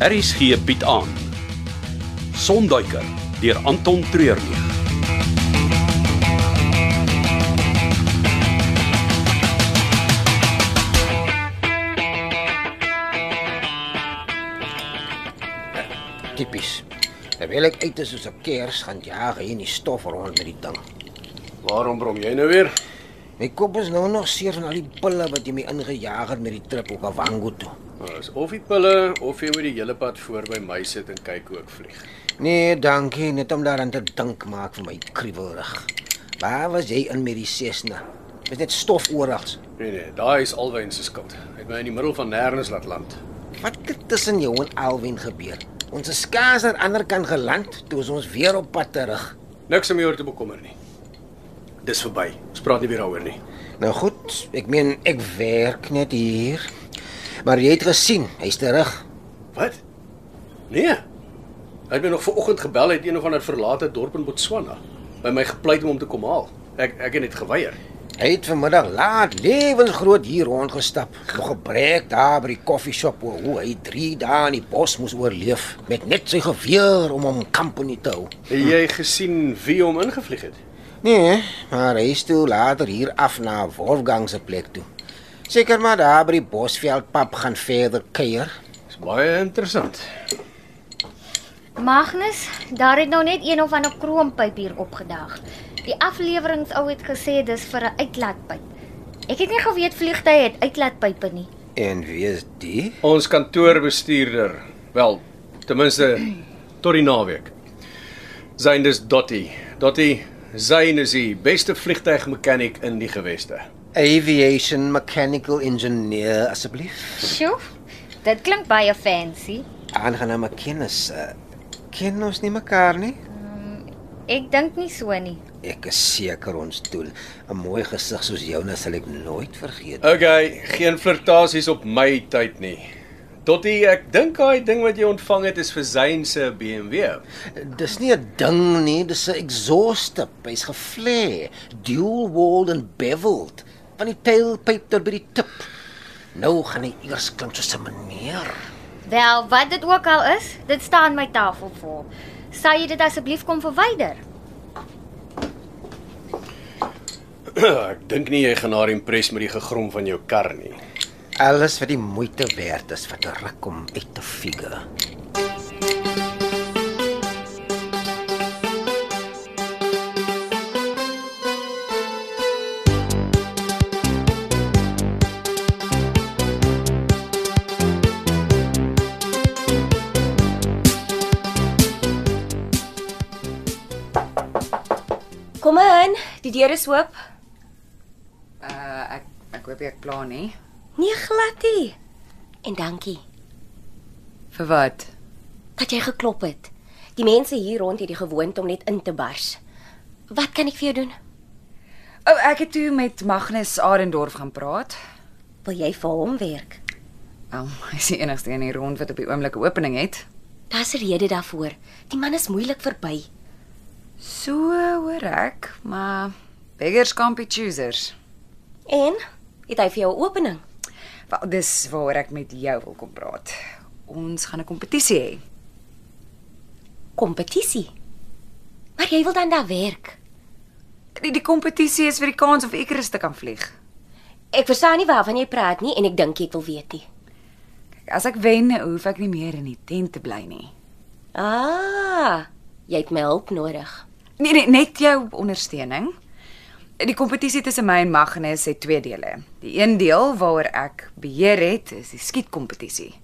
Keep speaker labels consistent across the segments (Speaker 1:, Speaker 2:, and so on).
Speaker 1: Aries gee Piet aan. Sonduiker deur Anton Treurnig.
Speaker 2: Tipies. Terwyl ek uit is soos 'n kers, gaan jag hy in die stof rond met die ding.
Speaker 3: Waarom brom jy nou weer?
Speaker 2: My kop is nou nog seer van al die pille wat jy my ingejaag het met die trip op Kavango toe.
Speaker 3: Dis Nou, of die pille of jy moet die hele pad voor by my sit en kyk hoe ek vlieg.
Speaker 2: Nee, dankie, net om daaraan te dink maak vir my kriewelrig. Waar was jy in met die Cessna? Is dit stof oral?
Speaker 3: Nee nee, daai is Alwyn se skuld. Hy het my in die middel van nêrens laat land.
Speaker 2: Wat het tussen jou en Alwyn gebeur? Ons is skaars aan die ander kant geland, toe is ons weer op pad terug.
Speaker 3: Niks om jou oor te bekommer nie. Dis verby. Ons praat nie weer daaroor nie.
Speaker 2: Nou goed, ek meen ek werk net hier. Maar jy het gesien, hy's terug.
Speaker 3: Wat? Nee. Hy het my nog vanoggend gebel uit een of ander verlate dorp in Botswana. By my gepleit om hom te kom haal. Ek ek het net geweier.
Speaker 2: Hy het vanmiddag laat lewensgroot hier rondgestap. Nog 'n breek daar by die koffieshop oor hoe hy 3 dae in die bos moes oorleef met net sy geweer om hom company te hou.
Speaker 3: Het jy gesien wie hom ingevlieg het?
Speaker 2: Nee, maar hy is toe later hier af na Wolfgang se plek toe. Seker maar daar by die Bosveld pap gaan verder kuier.
Speaker 3: Dis baie interessant.
Speaker 4: Magnus, daar het nou net een of ander kroompyp hier opgedag. Die afleweringsou het gesê dis vir 'n uitlaatpyp. Ek het nie geweet vliegtye het uitlaatpype nie.
Speaker 2: En wie is die?
Speaker 3: Ons kantoorbestuurder. Wel, ten minste tot die naweek. Zain dis Dotty. Dotty, Zain is die beste vliegtuigmekaniek in die geweste.
Speaker 2: Aviation mechanical engineer asseblief.
Speaker 4: Sjoe, dit klink baie fancy.
Speaker 2: Aangename kennis. eh, Ken ons nie mekaar nie?
Speaker 4: Ek dink nie so nie.
Speaker 2: Ek is seker ons doel. 'n Mooi gesig soos joune sal ek nooit vergeet. nie.
Speaker 3: OK, geen flirtasies op my tyd nie. Dotty, ek dink daai ding wat jy ontvang het is vir Zain se BMW.
Speaker 2: Dis nie 'n ding nie, dis 'n exhaust. Hy's gevlei, dual walled and beveled, van die tailpipe tot by die tip. Nou gaan hy eers klink soos 'n meneer.
Speaker 4: Wel, wat dit ook al is, dit staan my tafel vol. Sal jy dit asseblief kom verwyder?
Speaker 3: ek dink nie jy gaan haar impres met die gegrom van jou kar nie.
Speaker 2: Alles wat die moeite werd is vir 'n ruk om uit te figure.
Speaker 5: Kom in, die deur is oop.
Speaker 6: Uh ek ek hoop ek pla nie.
Speaker 5: Nee glad nie. En dankie
Speaker 6: Vir wat?
Speaker 5: dat jy geklop het. Die mense hier rond het die gewoonte om net in te bars. Wat kan ek vir jou doen?
Speaker 6: O, oh, ek het toe met Magnus Arendorf gaan praat.
Speaker 5: Wil jy vir hom werk?
Speaker 6: Wel, hy is die enigste een hier rond wat op die oomblik 'n opening het.
Speaker 5: Daar's 'n rede daarvoor. Die man is moeilik verby.
Speaker 6: So hoor ek, maar beggars can't be choosers.
Speaker 5: En het hy vir jou 'n opening?
Speaker 6: Wel, dis waaroor ek met jou wil kom praat. Ons gaan 'n kompetisie hê.
Speaker 5: Kompetisie. Maar jy wil dan daar werk.
Speaker 6: Die die kompetisie is vir die kans of Icarus te kan vlieg.
Speaker 5: Ek verstaan nie waarvan jy praat nie en ek dink jy wil weet nie.
Speaker 6: Kyk, as ek wen, hoef ek nie meer in die tent te bly nie.
Speaker 5: Ah, jy het my hulp nodig.
Speaker 6: Nee, nee, net jou ondersteuning. Die kompetisie tussen my en Magnus het twee dele. Die een deel waaroor ek beheer het, is die skietkompetisie.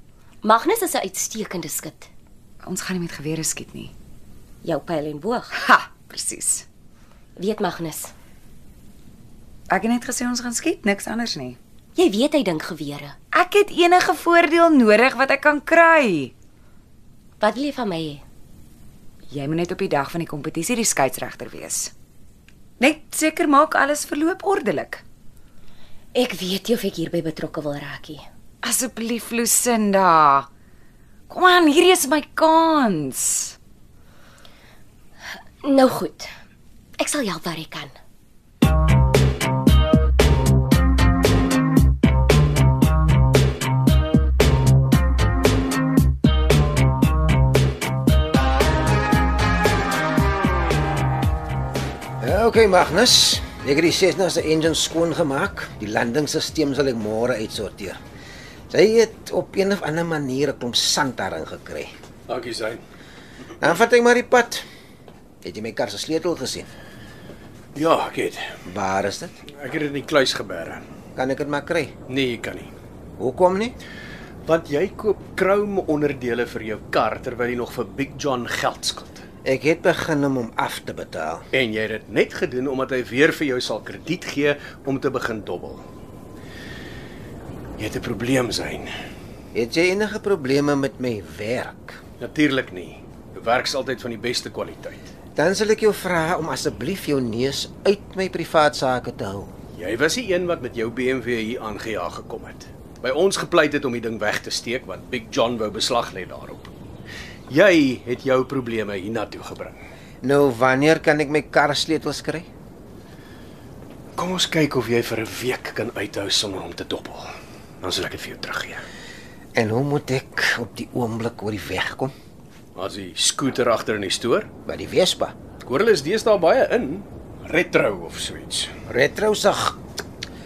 Speaker 5: Magnus is 'n uitstekende skut.
Speaker 6: Ons gaan nie met gewere skiet nie.
Speaker 5: Jou pyl en boog.
Speaker 6: Ha, presies.
Speaker 5: Weet Magnus,
Speaker 6: Ek het net gesê ons gaan skiet, niks anders nie.
Speaker 5: jy weet hy dink gewere.
Speaker 6: Ek het enige voordeel nodig wat ek kan kry.
Speaker 5: Wat wil jy van my hê?
Speaker 6: Jy moet net op die dag van die kompetisie die skeieregter wees. Net seker maak alles verloop ordelik.
Speaker 5: Ek weet nie of ek hierby betrokke wil raak nie.
Speaker 6: Asseblief Lucinda. Kom aan, hierdie is my kans.
Speaker 5: Nou goed. Ek sal help waar ek kan.
Speaker 2: Okay Magnus, ek het die Cessna se engine skoon gemaak. Die landingsstelsel sal ek môre uitsorteer. Sy het op een of ander manier 'n klomp sand daarin gekry.
Speaker 3: Dankie, Zain.
Speaker 2: Dan vat ek maar die pad. Het jy my kar se sleutel gesien?
Speaker 3: Ja, ek het.
Speaker 2: Waar is dit?
Speaker 3: Ek het dit in die kluis geberg.
Speaker 2: Kan ek dit maar kry?
Speaker 3: Nee, jy kan nie.
Speaker 2: Hoekom nie?
Speaker 3: Want jy koop chrome onderdele vir jou kar terwyl jy nog vir Big John geld skuld.
Speaker 2: Ek het begin om hom af te betaal.
Speaker 3: En jy het dit net gedoen omdat hy weer vir jou sal krediet gee om te begin dobbel. Jy het 'n probleem sein.
Speaker 2: Het jy enige probleme met my werk?
Speaker 3: Natuurlik nie. Jou werk is altyd van die beste kwaliteit.
Speaker 2: Dan sal ek jou vra om asseblief jou neus uit my privaat sake te hou.
Speaker 3: Jy was die een wat met jou BMW hier aangejaag gekom het. By ons gepleit het om die ding weg te steek want Big John wou beslag lê daarop. Jy het jou probleme hiernatoe gebring.
Speaker 2: Nou wanneer kan ek my kar sleutels kry?
Speaker 3: Kom ons kyk of jy vir 'n week kan uithou sonder om te dobbel. Dan sal ek dit vir jou teruggee.
Speaker 2: En hoe moet ek op die oomblik oor die weg kom?
Speaker 3: As die skooter agter in die stoor.
Speaker 2: By die Vespa.
Speaker 3: Ek hoor hulle is deesdae baie in retro of so iets.
Speaker 2: Retro sag.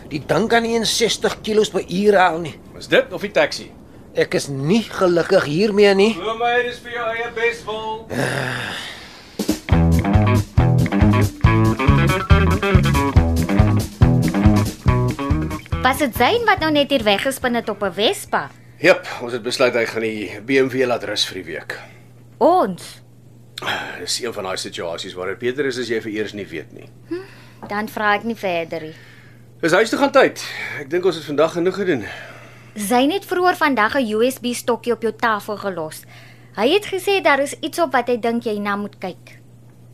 Speaker 2: Die ding kan nie eens 60 kg per uur haal nie.
Speaker 3: Is dit of die taxi?
Speaker 2: Ek is nie gelukkig hiermee nie.
Speaker 3: Glo my, dis vir jou eie beswil.
Speaker 4: Was dit Zayn wat nou net hier weggespin het op 'n Vespa?
Speaker 3: Jep, ons het besluit hy gaan die BMW laat rus vir die week.
Speaker 4: Ons.
Speaker 3: Dis een van daai situasies waar dit beter is as jy vir eers nie weet nie.
Speaker 4: Dan vra ek nie verder nie.
Speaker 3: Dis huis toe gaan tyd. Ek dink ons het vandag genoeg gedoen.
Speaker 4: Zayn het vroeër vandag 'n USB stokkie op jou tafel gelos. Hy het gesê daar is iets op wat hy dink jy na moet kyk.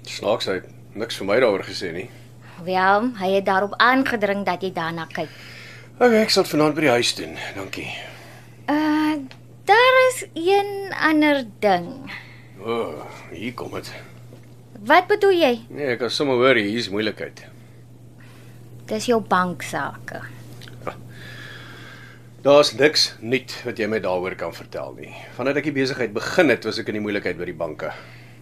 Speaker 3: Snaaksheid. Niks vir my daaroor gesê nie.
Speaker 4: Wel, hy het daarop aangedring dat jy daarna kyk.
Speaker 3: Okay, ek sal dit vanaand by die huis doen. Dankie.
Speaker 4: Uh, daar is een ander ding.
Speaker 3: O, oh, hier kom dit.
Speaker 4: Wat bedoel jy?
Speaker 3: Nee, ek kan sommer hoor hier's moeilikheid.
Speaker 4: Dis jou banksaake.
Speaker 3: Daar's niks nuut wat jy my daaroor kan vertel nie. Vandat ek die besigheid begin het, was ek in die moeilikheid by die banke.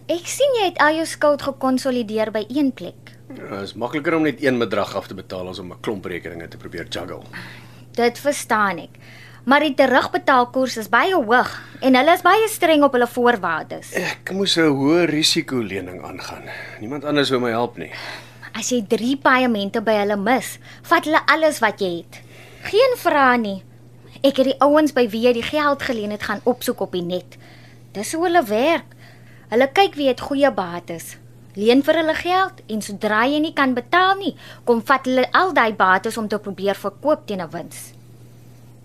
Speaker 4: Ek sien jy het al jou skuld gekonsolideer by een plek.
Speaker 3: Dit Nou, is makliker om net een bedrag af te betaal as om 'n klomp rekeninge te probeer juggle.
Speaker 4: Dit verstaan ek. Maar die terugbetaalkoers is baie hoog en hulle is baie streng op hulle voorwaardes.
Speaker 3: Ek moes 'n hoë risiko lening aangaan. Niemand anders wou my help nie.
Speaker 4: As jy 3 paemente by hulle mis, vat hulle alles wat jy het. Geen vrae nie. Ek het die ouens by wie jy die geld geleen het gaan opsoek op die net. Dis hoe hulle werk. Hulle kyk wie het goeie bates. Leen vir hulle geld en sodra jy nie kan betaal nie, kom vat hulle al daai bates om te probeer verkoop teen 'n wins.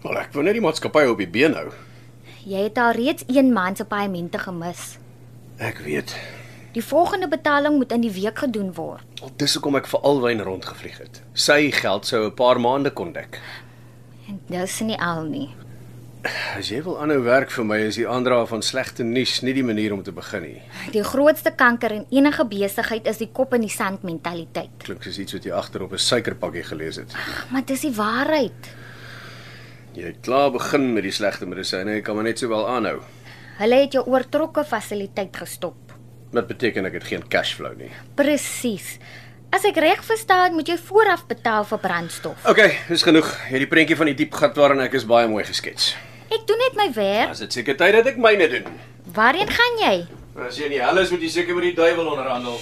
Speaker 3: Wel, ek wou net die maatskappy op die been hou.
Speaker 4: Jy het al reeds een maand se paemente gemis.
Speaker 3: Ek weet.
Speaker 4: Die volgende betaling moet in die week gedoen word.
Speaker 3: Al dis hoekom ek vir Alwyn rondgevlieg het. Sy geld sou 'n paar maande kon dek.
Speaker 4: En dis nie al nie.
Speaker 3: As jy wil aanhou werk vir my, is die aandra van slegte nuus nie die manier om te begin nie.
Speaker 4: Die grootste kanker in enige besigheid is die kop in die sand mentaliteit.
Speaker 3: Klink soos iets wat jy agter op 'n suikerpakkie gelees het.
Speaker 4: Maar dis die waarheid.
Speaker 3: Jy het klaar begin met die slegte medisyne, jy kan maar net sowel aanhou.
Speaker 4: Hulle het jou oortrokke fasiliteit gestop.
Speaker 3: Wat beteken ek het geen cash flow nie.
Speaker 4: Presies. As ek reg verstaan, moet jy vooraf betaal vir brandstof.
Speaker 3: Okay, dis genoeg. Jy het die prentjie van die diep gat waarin ek is baie mooi geskets.
Speaker 4: Ek doen net my werk.
Speaker 3: As Ja, dit seker tyd dat ek myne doen.
Speaker 4: Waarheen gaan jy?
Speaker 3: As jy in die hel is, moet jy seker met die duiwel onderhandel.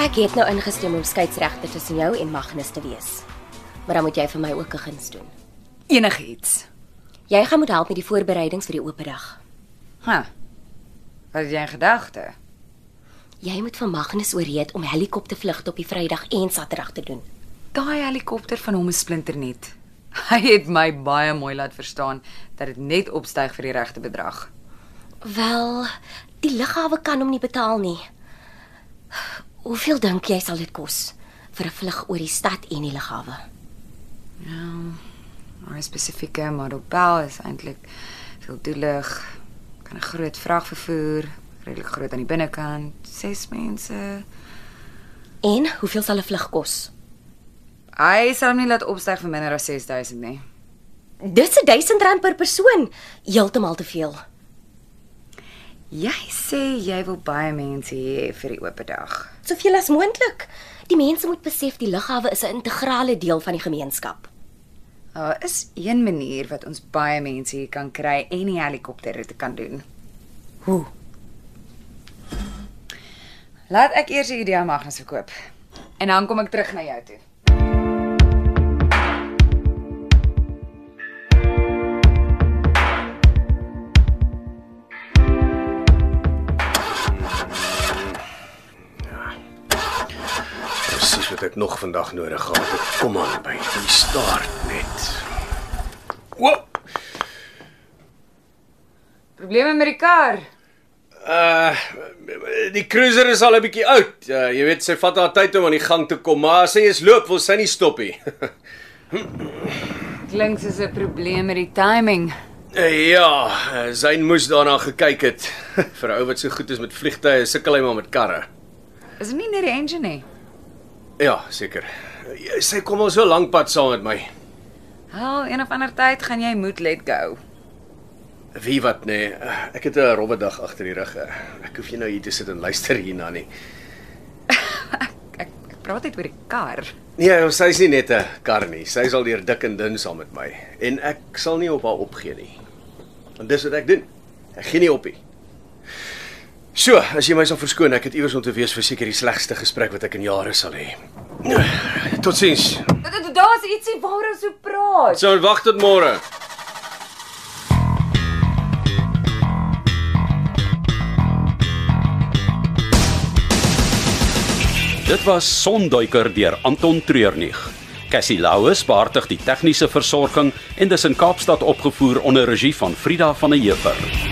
Speaker 5: Ek het nou ingestem om skeieregter tussen jou en Magnus te wees. Maar dan moet jy vir my ook 'n guns doen.
Speaker 6: Enigiets.
Speaker 5: Jy gaan moet help met die voorbereidings vir die oopdag.
Speaker 6: Ha. Wat het jy in gedagte?
Speaker 5: Jy moet vir Magnus ooreed om helikoptervlug op die Vrydag en Saterdag te doen.
Speaker 6: Daai helikopter van hom is splinternuut. Hy het my baie mooi laat verstaan dat dit net opstyg vir die regte bedrag.
Speaker 5: Wel, die lughawe kan hom nie betaal nie. Hoeveel dink jy sal dit kos vir 'n vlug oor die stad en die lughawe?
Speaker 6: Maar spesifieke model is eintlik veel toelig, kan 'n groot vrag vervoer, redelik groot aan die binnekant, 6 mense.
Speaker 5: En hoeveel sal 'n vlug kos?
Speaker 6: Hy sal hom nie laat opstyg vir minder as 6000 nie.
Speaker 5: Dis R1000 per persoon, heeltemal te veel.
Speaker 6: Jy sê jy wil baie mense hê vir die oop dag.
Speaker 5: Soveel as moontlik. Die mense moet besef die lughawe is 'n integrale deel van die gemeenskap.
Speaker 6: Daar is een manier wat ons baie mense hier kan kry en die helikopter dit kan doen.
Speaker 5: Hoe?
Speaker 6: Laat ek eers die idee aan Magnus verkoop en dan kom ek terug na jou toe.
Speaker 3: Presies wat ek nog vandag nodig gehad het. Kom aan by die staart net. Oop.
Speaker 6: Probleme met die kar.
Speaker 3: Uh die cruiser is al 'n bietjie oud. Uh, jy weet sy vat haar tyd om aan die gang te kom, maar as sy eens loop, wil sy nie stop nie.
Speaker 6: Klink soos 'n probleem met die timing.
Speaker 3: Eh, ja, eh, Zayn moes daarna gekyk het. Vir 'n ou wat so goed is met vliegtye, sukkel hy maar met karre.
Speaker 6: Is dit nie net die engine nie?
Speaker 3: Ja, seker. Eh, Sy kom al so lank pad saam met my.
Speaker 6: Wel, een of ander tyd gaan jy moet let go.
Speaker 3: Wie wat nee, Eh, ek het 'n rowwe dag agter die rug. Eh, Ek hoef nie nou hier te sit en luister hierna nie.
Speaker 6: Ek, ek praat net oor die kar.
Speaker 3: Nee, sy's nie net 'n kar nie. Sy's al deur dik en dun saam met my en ek sal nie op haar opgee nie. Want dis wat ek doen. Ek gee nie op nie. So, as jy my sal verskoon, ek het iewers om te wees vir seker die slegste gesprek wat ek in jare sal hê. Totsiens.
Speaker 6: Da- da- Daar's ietsie waaroor so praat.
Speaker 3: Sou wag tot môre.
Speaker 1: Dit was Sonduiker deur Anton Treurnig. Cassie Louws beheerdig die tegniese versorging en dis in Kaapstad opgevoer onder regie van Frida van der Heever.